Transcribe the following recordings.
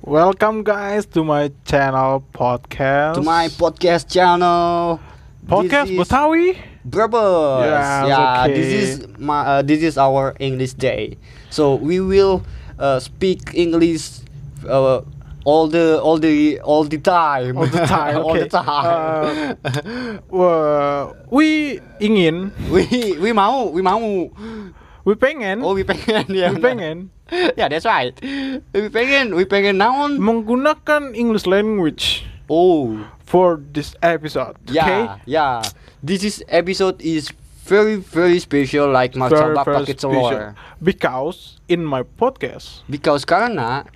Welcome guys to my channel podcast. to my podcast channel. podcast this is Betawi. Brabus. Yes, yeah, okay. this is my uh, this is our English day. So we will uh, speak English uh, all the all the all the time. All the time. all okay. the time. Uh, wah, we ingin, we we mau we mau. we pengen, Oh, we pengen ya. Hmm? we benar. pengen yeah, that's right. We pengen we pengen naon? menggunakan English language Oh. for this episode. Okay. Yeah, yeah. This is episode is very very special like Very, martabak very pakai special. telur. Because in my podcast, Because karena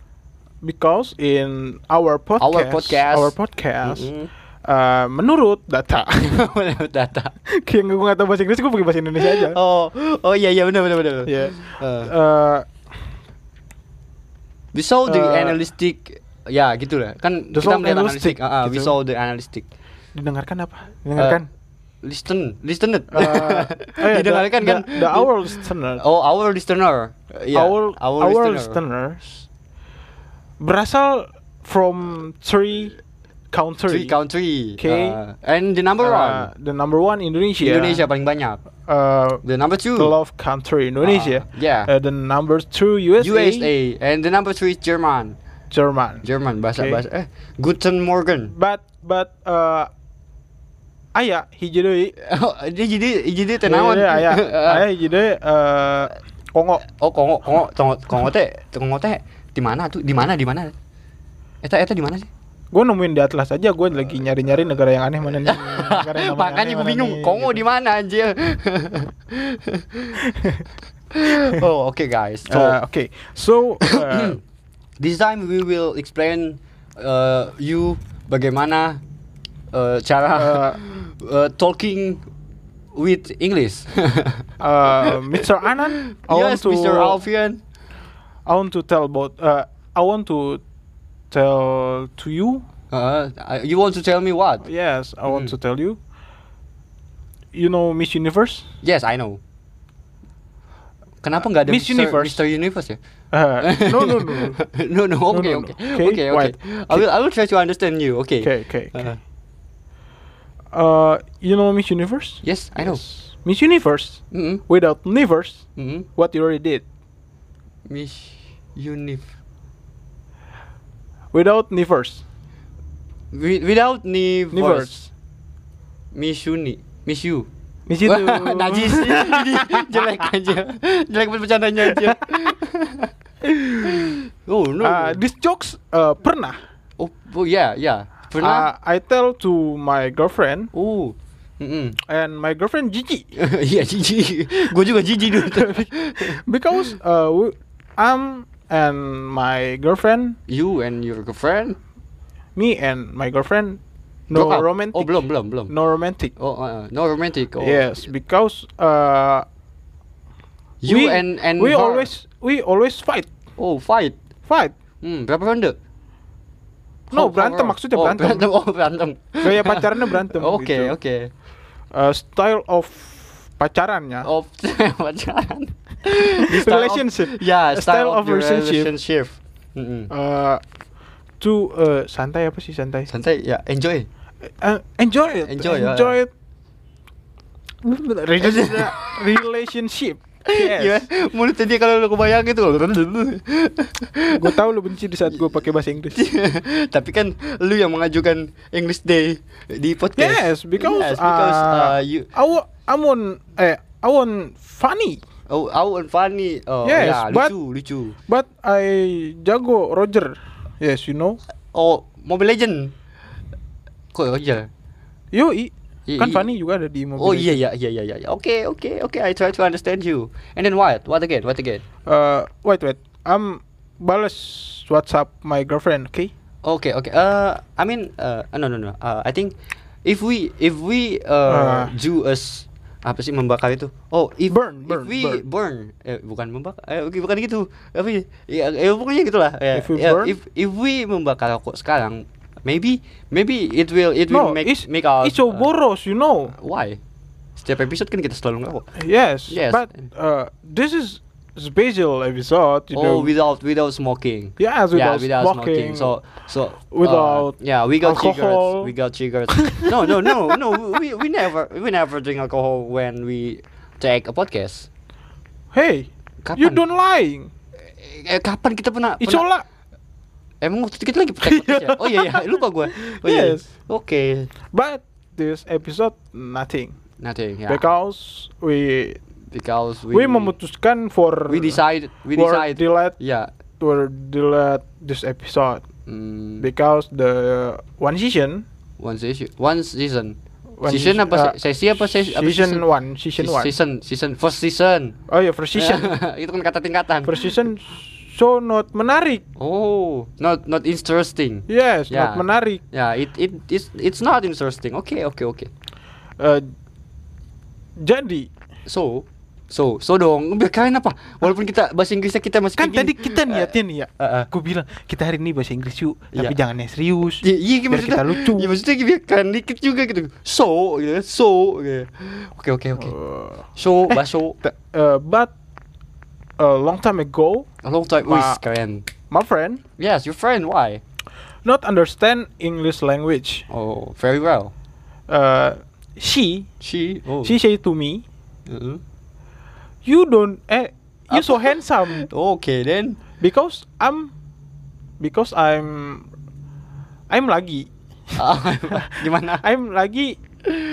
because in our podcast, podcast. our podcast, Mm-mm. uh, menurut data, Menurut data. kayak gue nggak tahu bahasa Inggris, gue pakai bahasa Indonesia aja. Oh, oh iya iya benar benar benar. Ya. Eh, Uh, we saw the eh, analytic ya gitu lah. Kan The kita sound melihat analytic, analytic. ah, ah, we gitu. saw the analytic. didengarkan apa? Eh, Didengarkan. Listen, listen it. Uh, oh iya, eh, Didengarkan the, kan? The, the our listener, Oh, our listener. Eh, iya, our, our listeners berasal from three country. Three country. Okay. Ah, and the number Uh, one. the number one Indonesia. Indonesia paling banyak. Uh, The number two. the love country Indonesia. Ah, yeah. Uh, the number two USA. USA and the number three is German. Jerman. German bahasa Okay. bahasa eh Guten Morgen. but but uh, ayah hiji deui. Oh, Dia jadi jadi tenawan. Iya, iya, Aya aya hiji deui eh, Kongo. oh kongo kongo kongo kongo teh kongo teh di mana tuh di mana di mana? Eta eta di mana sih? Gue nemuin di atlas aja gue lagi nyari-nyari negara yang aneh mana nih. negara yang namanya Makanya aneh gue mana bingung nih, kongo gitu. di mana anjir. oh oke guys. So Uh, okay. So uh, this time we will explain uh, you bagaimana Eh. uh, cara uh, talking with English. uh, Mr. Anand, I want yes, to Mr. Alfian. I want to tell about uh, I want to tell to you. Uh, uh, you want to tell me what? Yes, I want Mm. to tell you. You know Miss Universe? Yes, I know. Kenapa nggak ada Miss Mr. Universe. Mr. Universe ya? Uh, no, no, no. no. no, no. Okay, no, no. Okay, okay, okay, okay. wait. I will, I will try to understand you. Okay. Okay, okay, okay. Uh, Uh, you know Miss Universe? yes, I know. Yes. Miss Universe Mm-hmm. without universe, Mm-hmm. what you already did. Miss Unif. Without universe, Wi- Without universe, universe. Miss Uni, Miss You. Miss itu. Najis. Ini jelek aja. Jelek banget bercandanya aja. oh no. Uh, these jokes uh, pernah. oh, oh yeah, yeah. Pernah. Uh, I tell to my girlfriend oh. Mm-mm. and my girlfriend Gigi Iya jijik Gue juga jijik dulu because uh, we- I'm and my girlfriend, You and your girlfriend me and my girlfriend, no broke up. romantic, Oh belum belum belum no romantic. Oh uh, no romantic oh. Yes, because uh, You we, and and we her. always we always fight Oh fight fight. hmm, Berapa ronde? No, How- how berantem, ronde? maksudnya oh, berantem. berantem Oh berantem Gaya pacarannya berantem Oke gitu. oke Uh, style of pacarannya. Of Oh, pacaran Di style of- Relationship. Ya Style of your relationship. relationship. Mm-mm. Uh, to uh, santai apa sih santai? Santai ya enjoy Uh, enjoy it. Enjoy, ya. it. Relationship. relationship. Iya, Yes. Mulut tadi kalau lu kebayang gitu Gue tahu lu benci di saat gue pakai bahasa Inggris. Tapi kan lu yang mengajukan English Day di podcast. Yes, because, Yes, because, uh, uh, you- I wa- I want eh I want funny, Oh, Aw and Fanny. Oh, Yes, ya, but- lucu, lucu. but I jago Roger. Yes, you know. Oh, Mobile Legend. Kok aja? Yo, i- I- kan i- funny juga ada di mobil. Oh iya iya iya iya iya. Oke oke oke. I try to understand you. And then what? What again? What again? Uh, wait, wait. I'm balas WhatsApp my girlfriend, okay? Oke oke. Uh, I mean, uh, no no no. Uh, I think if we if we Ah. uh, do us apa sih membakar itu? Oh, if Burn, if burn, we burn. burn, Eh, bukan membakar, eh, oke, bukan gitu. Tapi ya, eh, pokoknya gitulah. Ya, If we ya, burn? if if we membakar rokok sekarang, maybe maybe it will it will No, make it's make our it's so uh, boros, you know. why? Setiap episode kan kita selalu ngerokok. Yes, Yes. but uh, this is special episode. You know, oh, without without smoking. yes, yeah, without, without smoking. smoking. So so uh, Without yeah, we got alcohol. cigarettes. We got cigarettes. no, no, no, no. We we never we never drink alcohol when we take a podcast. hey, you Kapan? don't lying. Eh, kapan kita pernah? It's all pernah li- emang waktu itu kita lagi take podcast ya? Oh iya iya, lupa gue. Oh, iya, iya. Yes. Oke. but this episode nothing Nothing. Yeah. because we ya. Because we we, memutuskan for we decide we for decide. delete Yeah. for delete this episode Mm, because the one season one season. One season. one season seas- apa? uh, se- sesi apa? Sesi, apa season one season Se- one Season, season, first season. oh ya first season itu kan kata tingkatan. first season so not menarik Oh, not not interesting. yes Yeah. not menarik Ya, it it it's, it's not interesting. Oke, oke, oke. Eh, jadi So, so, so dong. Biar Kalian apa? Walaupun kita bahasa Inggrisnya kita masih kan kayak tadi gini. kita niatnya nih ya Eh, eh. aku bilang kita hari ini bahasa Inggris yuk tapi Iya. jangan yang serius Iya, iya biar maksudnya. kita lucu Iya, maksudnya biar kalian dikit juga gitu. So, gitu. kan, So, gitu. Oke, oke, oke. Eh, So, Eh, baso. t- eh, but a long time ago A long time. Wih, Ma- keren. my friend Yes, your friend. Why? not understand English language Oh, very well. Eh, she She. Oh. Uh-huh. she say to me Mm-mm. you don't eh you so Apa? handsome Okay then. because I'm because I'm I'm lagi Ah, Gimana? I'm lagi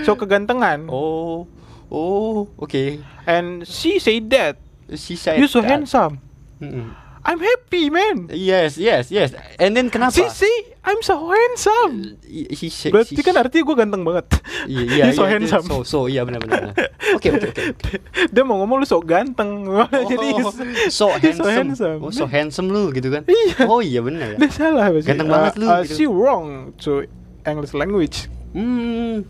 so kegantengan Oh, oh, okay. and she say that She said. you so that. handsome Mm-mm. I'm happy man Yes, yes, yes. And then kenapa? see see I'm so handsome Y- She said. berarti she- kan artinya gue ganteng banget Iya, iya, you so iya, handsome So, so, iya benar-benar. Oke, oke, oke. dia mau ngomong lu so ganteng jadi Oh, is- so is handsome. Oh, so handsome lu gitu kan? Iya. Oh iya benar ya. dia salah pasti. Ganteng banget lu, gitu. uh, she wrong to English language Hmm.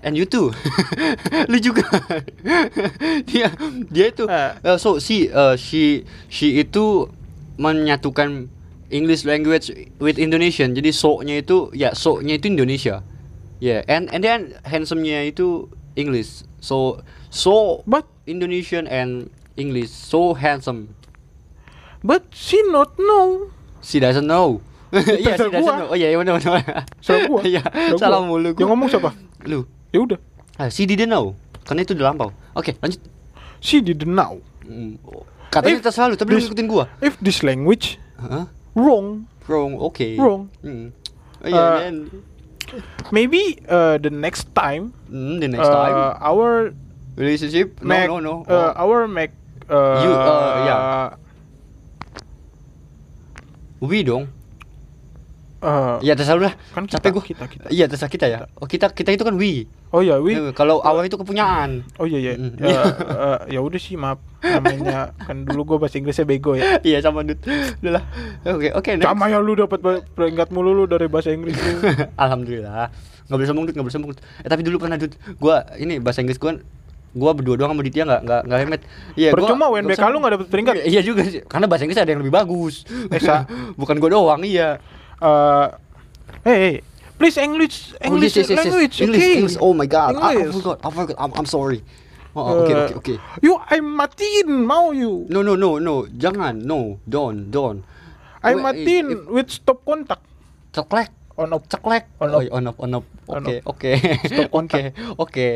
And you too. Lu juga. dia dia itu Ah. uh, so si uh, she she itu menyatukan English language with Indonesian. Jadi so-nya itu ya so-nya itu Indonesia. Yeah, and and then handsome-nya itu English. So so but Indonesian and English so handsome. but she not know She doesn't know. Iya, she Terserah doesn't gua. know. Oh iya, iya benar benar. Salah gua. Iya, Salah gua. salah mulu gua. Yang ngomong siapa? Lu. ya udah Ah, she didn't know. Karena itu udah lampau. Oke, lanjut. she didn't know Mm, Katanya Eh, kita selalu, tapi lu this- ngikutin gua. if this language Hah? wrong Wrong, oke. Wrong. Mm. Oh, Iya, Uh, then. maybe uh, the next time Mm, the next uh, time our relationship. No, make no, no. uh, Oh. our make uh, You, uh, yeah. Oh. We dong. uh, Iya, terserah lah. Kan kita, Capek gua. kita, kita. Iya, terserah kita ya. Oh, kita kita itu kan we. oh ya we Eh, Kalau awal itu kepunyaan. oh iya iya Mm. Eh, eh, ya udah sih maaf namanya kan dulu gue bahasa Inggrisnya bego ya Iya, sama Dut. Udah lah. Oke, oke. next. sama ya lu dapat ba- peringkat mulu lu dari bahasa Inggris lu Alhamdulillah. Nggak boleh sombong, Dut, nggak boleh sombong. Dut. Eh, tapi dulu pernah, Dut. Gua ini bahasa Inggris gua gua berdua doang sama Ditya nggak nggak nggak hemat. Iya, gua- percuma gua UNBK sama- lu nggak dapat peringkat Iya, Iya juga sih, karena bahasa Inggris ada yang lebih bagus. Eh, Sa. bukan gua doang, iya. Eh, hey, hey, please English Oh, English yes, yes, yes, yes. language English, okay? English. Oh my god. I, I English. forgot. I forgot. I'm, I'm sorry. Oh, oke, Eh, oke, oke. You I'm matiin mau you. No, no, no, no. Jangan. No. Don't, don't. I'm Wait, matiin if- with stop contact Ceklek. on off. Ceklek. On Oh, off. on off, on off. On Oke, off. oke. Stop Oke, kontak. oke.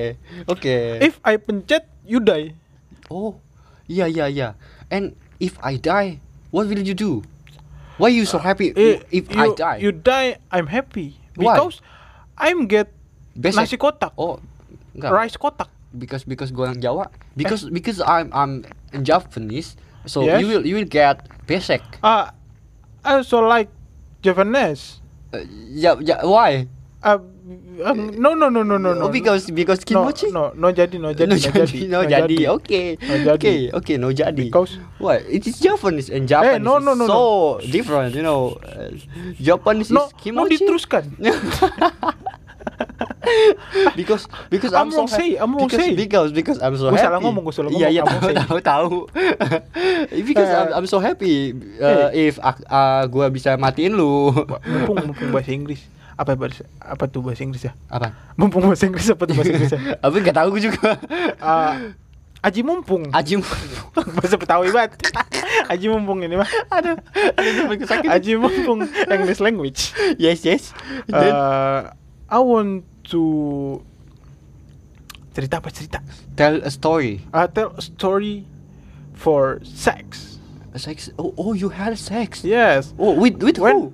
Oke. If I pencet you die. Oh. Iya, iya, iya. And if I die, what will you do? Why you so happy Eh, if you, I die? You die I'm happy Why? because I'm get Besek. nasi kotak. Oh, enggak. Rice kotak. because because gue orang Jawa Eh? because because I'm I'm Japanese so Yes. you will you will get besek Ah I also like Japanese. uh, ya ya why Ah, um, no no no no no no. oh, Eh. because because no, kimochi no no jadi no jadi no jadi no jadi oke No jadi. oke oke no jadi Because- Eh, why it is Japanese and Japanese no, no, no, is so no. different you know Uh, Japanese No, is no kimochi diteruskan. because because I'm I'm, wrong so say, happy. I'm wrong because, say. because because I'm so Gua happy. salah ngomong, gua salah Iya ngomong, iya I'm wrong tahu tahu tahu. because Eh. I'm, I'm so happy uh, if ak- uh, gua bisa matiin lu. mumpung mumpung bahasa Inggris apa bahasa apa tuh bahasa Inggris ya Apa? mumpung bahasa Inggris apa tuh bahasa Inggris ya Apa enggak tahu gua juga. Ah, Aji Mumpung. Aji Bahasa Betawi banget. Aji Mumpung ini mah. Aduh. Aji Mumpung English language. yes yes Then, Uh, I want to cerita apa cerita? tell a story Uh, tell a story for sex. A sex oh oh you had sex Yes. oh with with who When-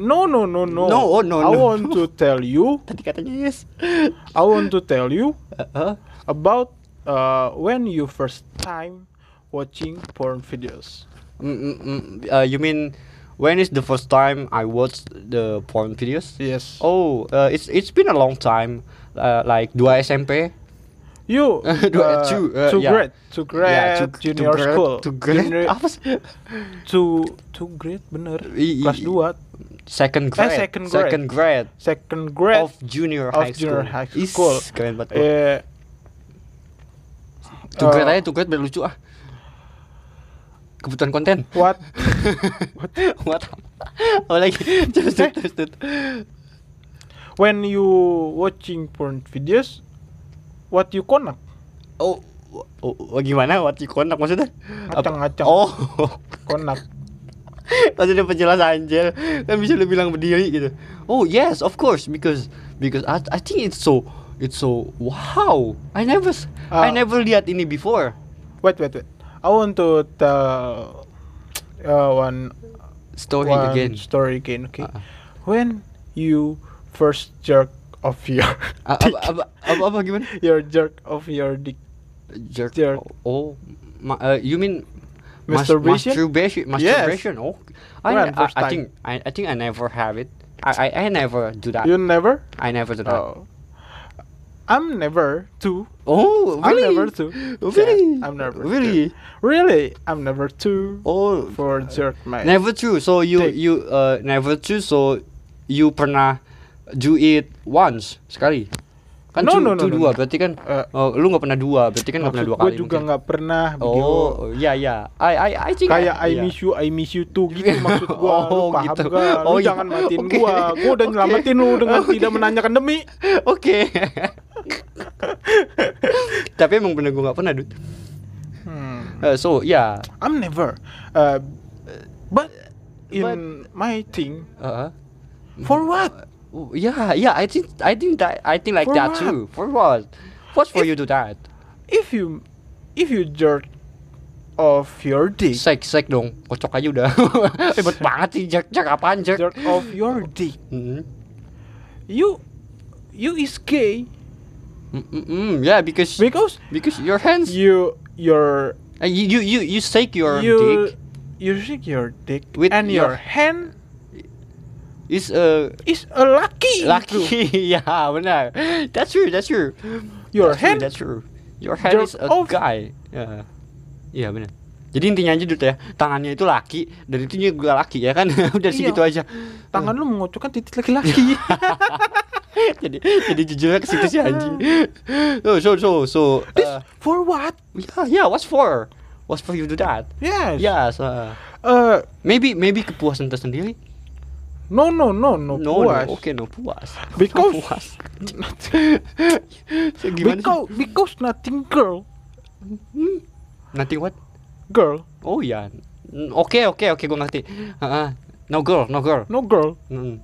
No, no, no, no. No, oh, no, I no. want to tell you. tadi katanya yes Uh, I want to tell you Uh-huh. about uh, when you first time watching porn videos. Mm, mm, mm, uh, you mean when is the first time I watched the porn videos Yes. oh uh, it's it's been a long time uh, like dua SMP You Dua- uh, two, uh, to yeah. grade to grade Yeah, to- to junior grade- school to grade Junior- apa sih to to grade bener I- i- kelas i- 2 second grade Eh, second grade. second grade second grade of junior of high junior school high Is, school. keren banget bro. eh Tuh eh, grade aja, tuh grade biar lucu ah Kebutuhan konten what What? Apa lagi? Terus, terus, terus, terus. when you watching porn videos what you connect Oh, oh, oh, gimana? What you connect maksudnya? Apa? Ngacang-ngacang. Oh, connect maksudnya penjelasan anjir Kan bisa lu bilang berdiri gitu Oh yes, of course Because because I, I think it's so It's so wow I never s- I Ah. never lihat ini before wait wait wait I want to tell uh, one Story one again story again okay Uh-uh. when you first jerk of your A- dick, apa, apa, apa, apa gimana? your jerk of your dick Jerk. Jerk. Oh, ma- uh, you mean mas- Masturbation? Masturbation. Yes. Masturbation. Oh, I, Grand I, first I time. think I, I think I never have it. I, I, I never do that. you never I never do that. Oh, Oh. I'm never too. Oh, really? I'm never too. Really? Yeah, I'm never Really? Too. Really? I'm never too. Oh, For jerk man. never true. So you Take. you uh never true. So you pernah do it once sekali. Kan No, two, no, no, two no, dua no. berarti kan Eh, oh, lu nggak pernah dua berarti kan nggak pernah Maksud dua gue kali. juga mungkin. nggak pernah video. Oh, ya ya. I I I iya. think Kayak I yeah. miss you, I miss you too gitu maksud gua. Oh, lu paham gitu. gak? Lu Oh, iya. jangan matiin Oke. gua. Gua udah Oke. nyelamatin lu dengan Oke. tidak menanyakan demi. Oke. Tapi emang bener gue gak pernah, Dut. Hmm. Eh, so, ya. I'm never. Uh, but in But- my thing, Yeah. for what? yeah, yeah, oh, ya, I think I think that I think like For that what? too. For what? What for If- you do that? If you if you jerk of your dick, Sek, sek dong. Kocok aja udah. Ribet banget sih, Jack. Jack apaan, Jack? jerk of your dick. Hmm. you you is gay Mm, mm, mm, yeah, because because because your hands you your uh, you you you, you shake your you dick you shake your dick With and your, your- hand is uh, is a lucky lucky. ya, benar. That's true, that's true. your That's true, hand that's true. Your hand Your is a off. guy. Ya. Iya benar. Jadi intinya aja Dut ya, tangannya itu laki dan itu juga laki ya kan. Udah Iya. sih gitu aja. tangan lu mengocokkan titik laki-laki jadi jadi jujurnya ke situ sih anjing. So so so so. this uh, for what yeah, yeah, what's for? What's for you do that? yes Yes. uh, uh, maybe maybe kepuasan tersendiri. no no no no, No, Oh, puas. no, okay, no puas. Because- no puas. so, gimana sih? because because nothing girl Hmm? Nanti what? girl Oh ya. Mm, Oke oke oke gue ngerti. Ah, ah. no girl, no girl. no girl Mm.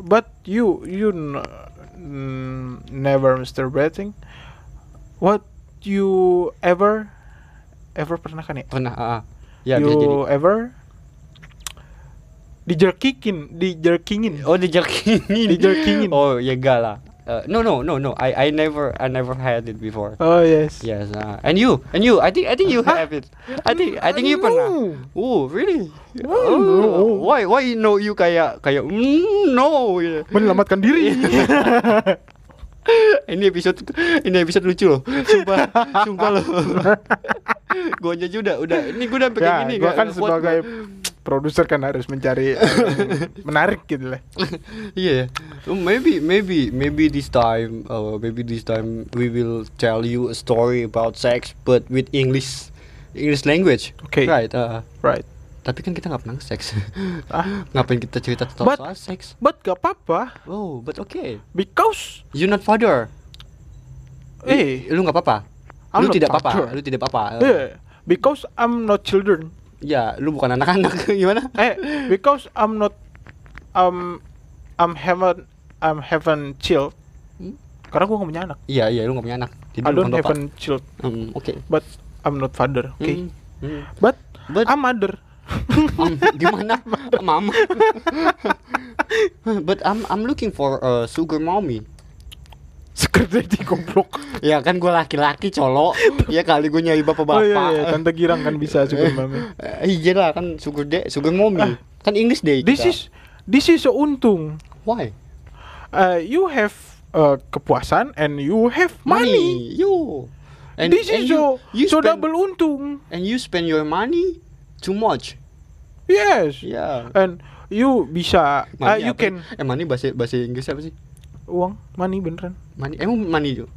but you you n- mm, never masturbating what you ever ever pernah kan ya Pernah, ah. ah. Ya, bisa jadi. you ever dijerkikin dijerkingin Oh, dijerkingin. Dijerkingin. Oh, ya enggak lah. Eh, no, no, no, no. I I never I never had it before. oh yes Yes, ah. and you, and you. I think I think you Hah? have it. I think I think you No. pernah. Oh, really? No. Oh, why why you know you kayak kayak mm, no. gitu. menyelamatkan diri ini episode ini episode lucu loh. Sumpah, sumpah loh. gue aja udah udah ini gue udah pakai ya gini gua nggak- kan nggak kuat sebagai gua. produser kan harus mencari yang menarik gitu lah yeah So Oh, maybe maybe maybe this time uh, maybe this time we will tell you a story about sex but with english english language Okay. right uh, right tapi kan kita nggak pernah seks Ah. ngapain kita cerita soal, But- soal seks but gak apa-apa oh but okay because you not father eh lu nggak apa-apa I I'm lu not tidak tortured. apa-apa, lu tidak apa-apa. Eh, Yeah, because I'm not children. Ya, lu bukan anak-anak gimana? Eh, because I'm not um I'm haven't I'm haven't child. Hmm? Karena gue gak punya anak. Iya, iya, lu gak punya anak. Jadi I lu don't bukan bapak. haven't child, Hmm, oke. but I'm not father. Okay, Hmm, hmm. but, But- I'm mother. Um, gimana? Mama. But I'm I'm looking for a sugar mommy. Sekedar di goblok. Ya kan gue laki-laki colok. ya kali gue nyari Oh bapak-bapak. iya, iya, tante girang kan bisa sugar mami. Eh, iya lah kan sugar de, sugar mommy. kan English Eh. deh. This kita. is this is untung. why Uh, you have uh, kepuasan and you have money. You and, this and is you, so you so spend, double untung. and you spend your money too much. Yes. Ya. And you bisa Money uh, you apa? can Eh money bahasa bahasa Inggris apa sih? uang money beneran. Money. Emang money tuh.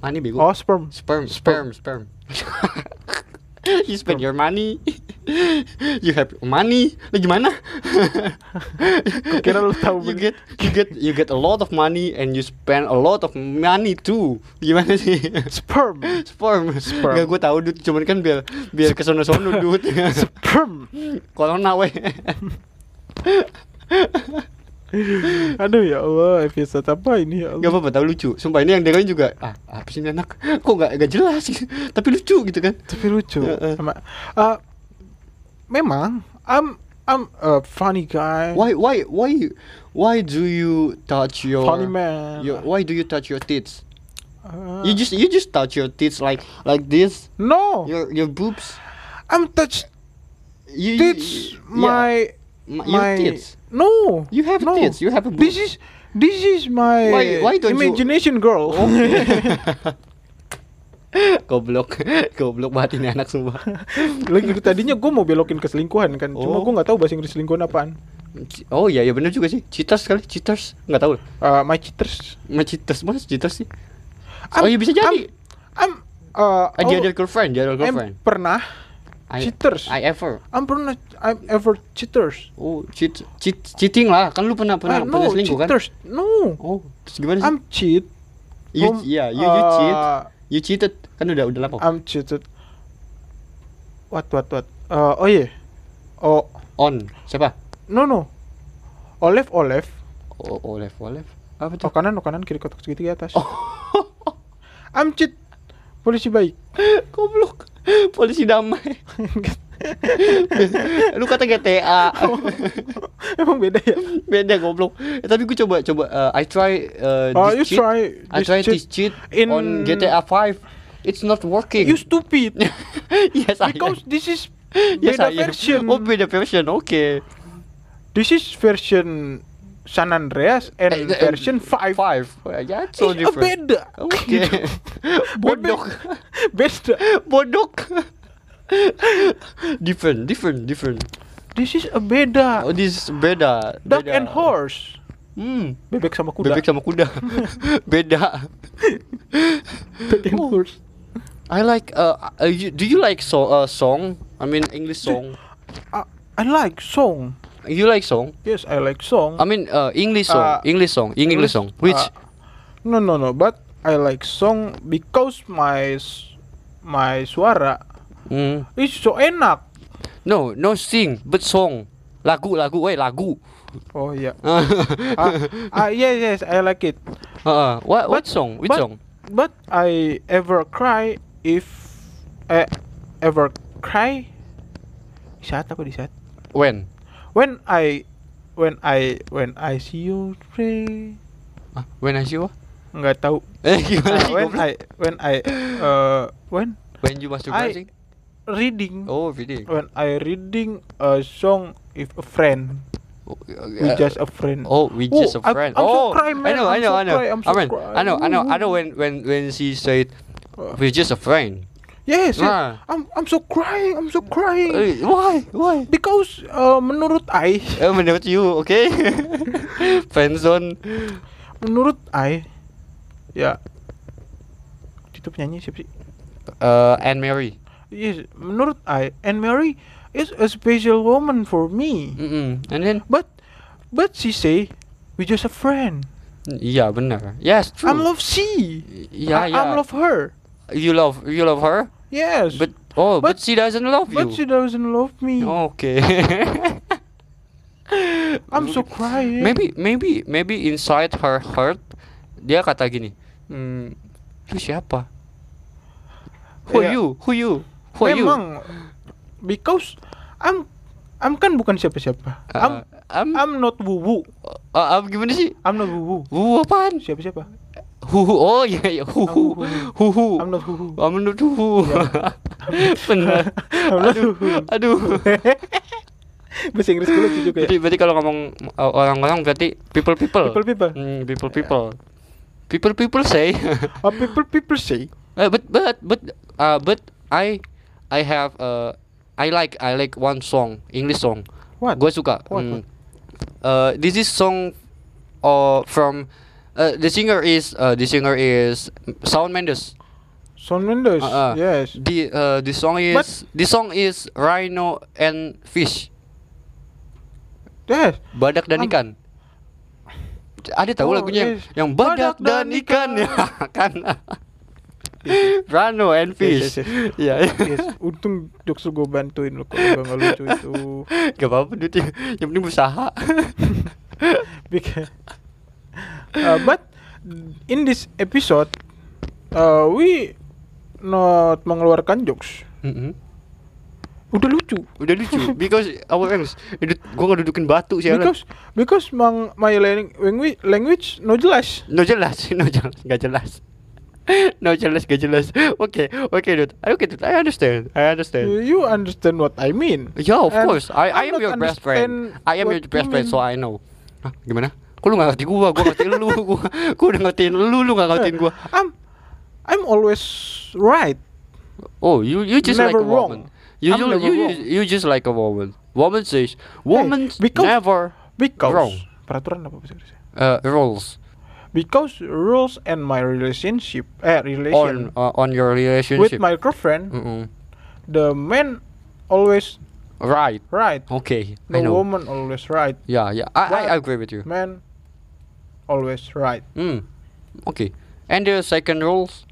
Money bego. Oh sperm. Sperm, Sperm. sperm, sperm. you spend your money. you have money. Lah gimana? kira lu tahu you bener. get you get you get a lot of money and you spend a lot of money too. Gimana sih? Sperm. sperm. Sperm. Gak gue tahu dude, cuman kan biar biar kesono-sono dude. sperm. Corona weh. Aduh ya Allah, episode apa ini ya Gak Allah. apa-apa tahu lucu. Sumpah ini yang dengerin juga ah apa sih ini anak? Kok gak, gak jelas Tapi lucu gitu kan. Tapi lucu. Heeh. Sama, uh, memang I'm I'm a funny guy. Why why why why do you touch your Funny man. your- why do you touch your tits? Uh, You just you just touch your tits like like this. no, Your your boobs. I'm touched You, you- tits yeah, my my, your my tits. No. You have no. tits. You have a This is this is my Why- why don't you- Oh, imagination girl. goblok goblok banget ini anak sumpah. Lagi tadinya gue mau belokin ke selingkuhan kan, cuma Oh. gue nggak tahu bahasa Inggris selingkuhan apaan. Oh iya ya bener juga sih. Cheaters kali, cheaters. Enggak tahu. Uh, my cheaters. Mau cheaters, mana cheaters sih? I'm- oh iya bisa jadi. I'm, I'm uh, Ah, dia ada oh, girlfriend, dia ada I'm girlfriend. pernah I- cheaters. I ever. I'm pernah I'm ever cheaters. Oh, cheat, cheat, cheating lah. Kan lu pernah Ah, pernah pernah no, selingkuh kan? cheaters. No. Oh, terus gimana sih? I'm cheat. you, Um, yeah, you, you cheat. uh, You cheated. Kan udah udah lapor. I'm cheated. What what what? Uh, oh iya. Oh, On. Siapa? no no. Olive Olive. O Olef, Olef. Oh Apa tuh? kanan, oh kanan, kiri kotak segitiga atas. Oh. I'm cheat. Polisi baik. Goblok. Polisi damai. lu kata GTA. Oh. Emang beda ya? Beda goblok. Eh, tapi gue coba coba uh, I try uh, Oh, you this cheat. try I this try cheat this cheat in- on GTA 5. It's not working. You stupid. yes, I am. Because this is yes, beda I am. version. Oh, beda version. Oke. This is version San Andreas and Eh, eh, version 5. Five. Well, yeah, it's so Ih, different. Beda. Oke. Gitu. Bodok. beda. Bodok. different, different, different. This is a beda. Oh, this is Ah. beda. Duck beda. and horse. Hmm. Bebek sama kuda. Bebek sama kuda. beda. Duck and horse. I like uh, uh you, do you like so uh, song? I mean English song. I, I like song. You like song? Yes, I like song. I mean uh English song. Uh, English song. English song. Which uh, no no no, but I like song because my s- my suara mm, is so enak. no, no sing, but song. Lagu, lagu, wait, lagu. Oh yeah. Ah, Ah ah, yes yes, I like it. uh, what what But- song? Which but, song? But I ever cry if eh, ever cry. Saat apa di saat? When? When I when I when I see you pray. Uh, Ah, when I see you? Nggak tahu. Eh gimana Ah, sih when goblok? I when I uh, when When you masturbating? reading Oh, really? when I reading a song if a friend Oh, we uh, just a friend. Oh, we just Oh, I'm- a friend. I'm so oh, cry, I man. know, I'm I know, so I know. cry, I'm so I, mean, cry. I know, I know, I know. When when when she said, Uh, "We're just a friend." yes, yes. Ah. I'm I'm so crying. I'm so crying. Eh, why? Why? Because uh, menurut I, Eh, menurut you, okay? Friendzone. menurut I, ya. Itu penyanyi siapa sih? Uh, Anne Mary. Yes, menurut I, and Mary is a special woman for me. Mm-mm. And then, But but she say we just a friend. iya benar. Yes, true. I'm love she. Yeah, I, yeah. I'm love her. you love you love her, Yes. but oh, but, But- she doesn't love but you. she doesn't love me. Okay. I'm so crying. Maybe maybe maybe inside her heart dia kata gini. Hmm, lu siapa? Who Iya. you? Who you? Who you? Memang because I'm I'm kan bukan siapa-siapa. I'm Uh, I'm, I'm, I'm not wuwu. uh, I'm gimana sih? I'm not wuwu. Wu apaan? Siapa-siapa? Hu hu. Oh iya iya. Hu hu. Hu hu. I'm not wuwu. I'm not hu. Benar. I'm not Aduh. wuwu. Aduh. Bahasa Inggris dulu lucu juga ya. Berarti, berarti kalau ngomong uh, orang-orang berarti people people. People people. Hmm, people people. People people say. Oh, people people say. Uh, but but but uh, but I I have uh I like I like one song English song. What? Gue suka. What, Mm. Uh, this is song uh, from uh, the singer is uh, the singer is Shawn Mendes. Shawn Mendes. Uh, uh. Yes. The uh, the song is But- the song is Rhino and Fish. Yes. Badak dan Um, ikan. Ada tahu oh, lagunya yang, yes. yang Badak badak, dan dan ikan ya ikan. kan. Rhino and Yes, fish. yes, Ya. Yes. Untung jokes gue bantuin lo kalau nggak lucu itu. Gak apa-apa duit yang yang penting usaha. Because, uh, but in this episode, uh, we not mengeluarkan jokes. Mm-mm. Udah lucu. Udah lucu because our friends edut gua ngedudukin batu sih. Because because mang my lang- language language no jelas. no jelas, no jelas, gak jelas. No jelas, gak jelas. Oke, oke dude. I okay dude. I understand. I understand. You understand what I mean? Yeah, of And course. I I I'm am not your best friend. understand I am your what you best friend, mean. so I know. Hah, gimana? Kok lu gak ngerti gua, gua ngerti lu, gua, gua udah ngertiin lu, lu gak ngertiin gua. Uh, I'm I'm always right. Oh, you you just Never like a woman. wrong. You, I'm you, never you, wrong. you just like a woman. Woman says, woman because- never Because Wrong. peraturan apa bahasa Inggrisnya? uh, rules. Because rules and my relationship eh relation on uh, on your with relationship. Mm. my girlfriend, Mm-mm. the man always Right. right. Okay. Oh, The I know. woman always right. Yeah, yeah. I, I But- agree with you. Man always right. Mm. Okay. And the second rules,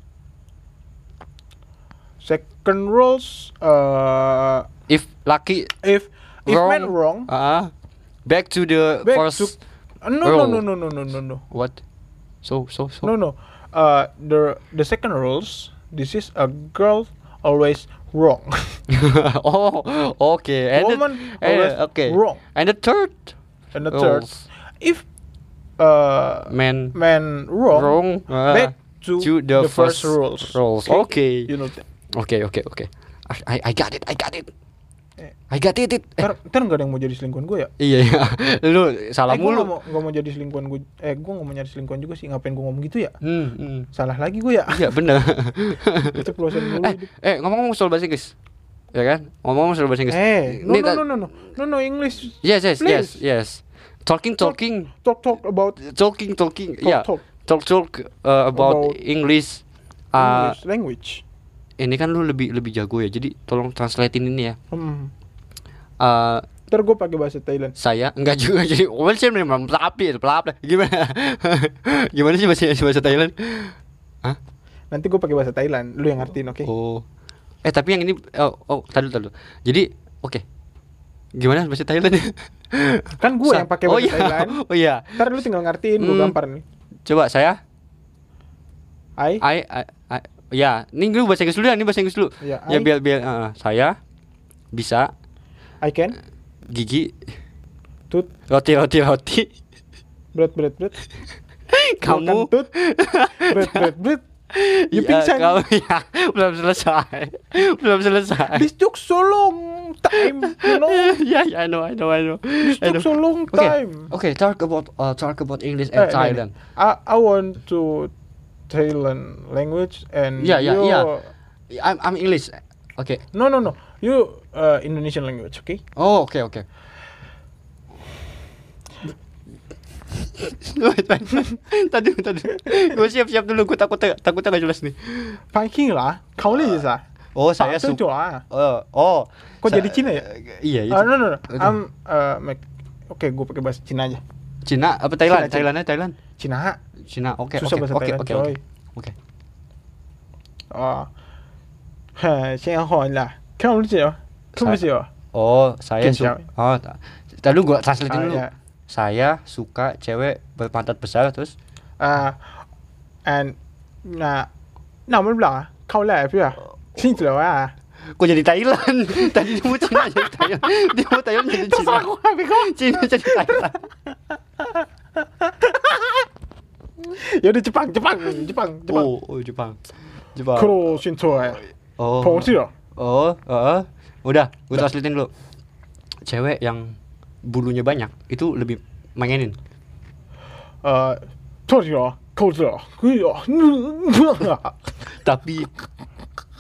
Second rules uh if lucky, if if wrong. man wrong Uh, back to the Back first. to- Uh, no, no, no, Rule. no, no, no, no, no, What? So so so. no, no. Uh, the the second rules. This is a girl always wrong. oh, okay. And the- Woman and, always okay. wrong. And the third. And the third, rules, if uh Man. man wrong, Wrong. uh, back to, to the first, first rules. rules. Okay. You know. th- Okay, okay, okay. I, I I got it. I got it. Eh. I got it. it. Eh, Ntar ntar nggak ada yang mau jadi selingkuhan gue ya? Iya, iya. Lu salah eh, gue nggak mulu. mau nggak mau jadi selingkuhan gue. Eh gue nggak mau nyari selingkuhan juga sih. Ngapain gue ngomong gitu ya? Hmm, hmm. Salah lagi gue ya. Iya bener Itu peluasan dulu. Eh, eh ngomong-ngomong soal bahasa Inggris Ya kan? Ngomong-ngomong soal bahasa Inggris Eh, no Ini no kan- Iya. ta- no no no no no English. Yes, yes, yes, Please. yes Talking, talking Talk talk about Talking, talking Talk, Ya talk. Talk, talk uh, About about, English Ah, English language. Ini kan lu lebih lebih jago ya Jadi tolong translatein ini ya Hmm. Ah, Ntar gue pakai bahasa Thailand. saya enggak juga jadi well sih memang pelapis pelapis gimana gimana sih bahasa bahasa Thailand Hah? Nanti gue pakai bahasa Thailand. Lu yang ngertiin, oke? Oh. Eh tapi yang ini oh, oh tadi tadi. Jadi oke. Gimana bahasa Thailand ya? Kan gue yang pakai oh, bahasa iya. Thailand. Oh iya. Ntar lu tinggal ngertiin, gue Hmm. gampar nih. Coba saya I, I I, I ya, ini dulu bahasa Inggris dulu ya, ini bahasa Inggris dulu. Ya, ya I- biar biar eh, saya bisa I can, gigi tut, roti roti roti berat berat berat. kamu kan tut, berat berat berat. You ya, pingsan. kamu ya belum selesai belum selesai This took so long time, you know. ya ya I know I know I know This I know. took so long time. okay, okay talk about uh, talk about English Eh, and nih, Thailand nih. I, I want to Thailand language and Yeah, yeah, you- eh, yeah. I'm I'm English. Okay. No no no, you uh, Indonesian language, okay? Oh, okay, okay. Wait, wait. tadi tadi gue siap siap dulu gue takut takutnya nggak jelas nih Viking lah, kau lihat sah. oh saya Pak, tuh, lah. suka oh, oh Kok Sa- jadi Cina ya? iya itu Ah, à? no, no, no. Itu. I'm, uh, Mac. Oke, gue pakai bahasa Cina aja. Cina apa Cina, Thailand Cina. Thailandnya Thailand Cina. Cina oke Susah oke bahasa oke Thailand, oke coy. oke oke 啊，哼，先好啦，看不见，看不见， Oh, saya Mungkin suka. Oh, ta- ta- lu gua translate Ah, dulu. ya. Saya suka cewek berpantat besar terus 啊，and 那那我们俩靠来不要，听着啊， Kok jadi Thailand? Tadi dia mau Cina jadi Thailand. Dia mau Thailand jadi Cina. Cina jadi Thailand. 여기 지방 지방 지방 지방 Oh, oh Jepang. Jepang. 크로 신토에 Oh. 봉지요. Oh, heeh. Udah, gue translatein dulu. Cewek yang bulunya banyak itu lebih mainin. 어, 토리요, 코즈요, 그요, Tapi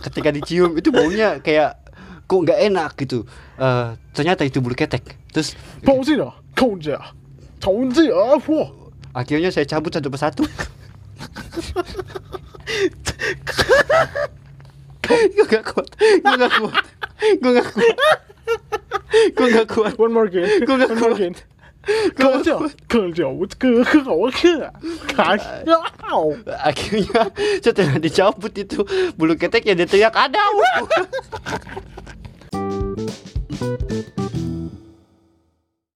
ketika dicium itu baunya kayak kok nggak enak gitu. Eh, ternyata itu bulu ketek. Terus 봉지요, 코즈요, 정지요, 호. akhirnya saya cabut satu persatu. gue gak kuat, gue gak kuat, gue gak kuat, gue gak kuat. One more game, Gua nggak one more kuat. game. 哦 코즈요, 코즈요, 우스크, 허허허, 가시요. akhirnya setelah dicabut itu bulu ketek ya dia teriak ada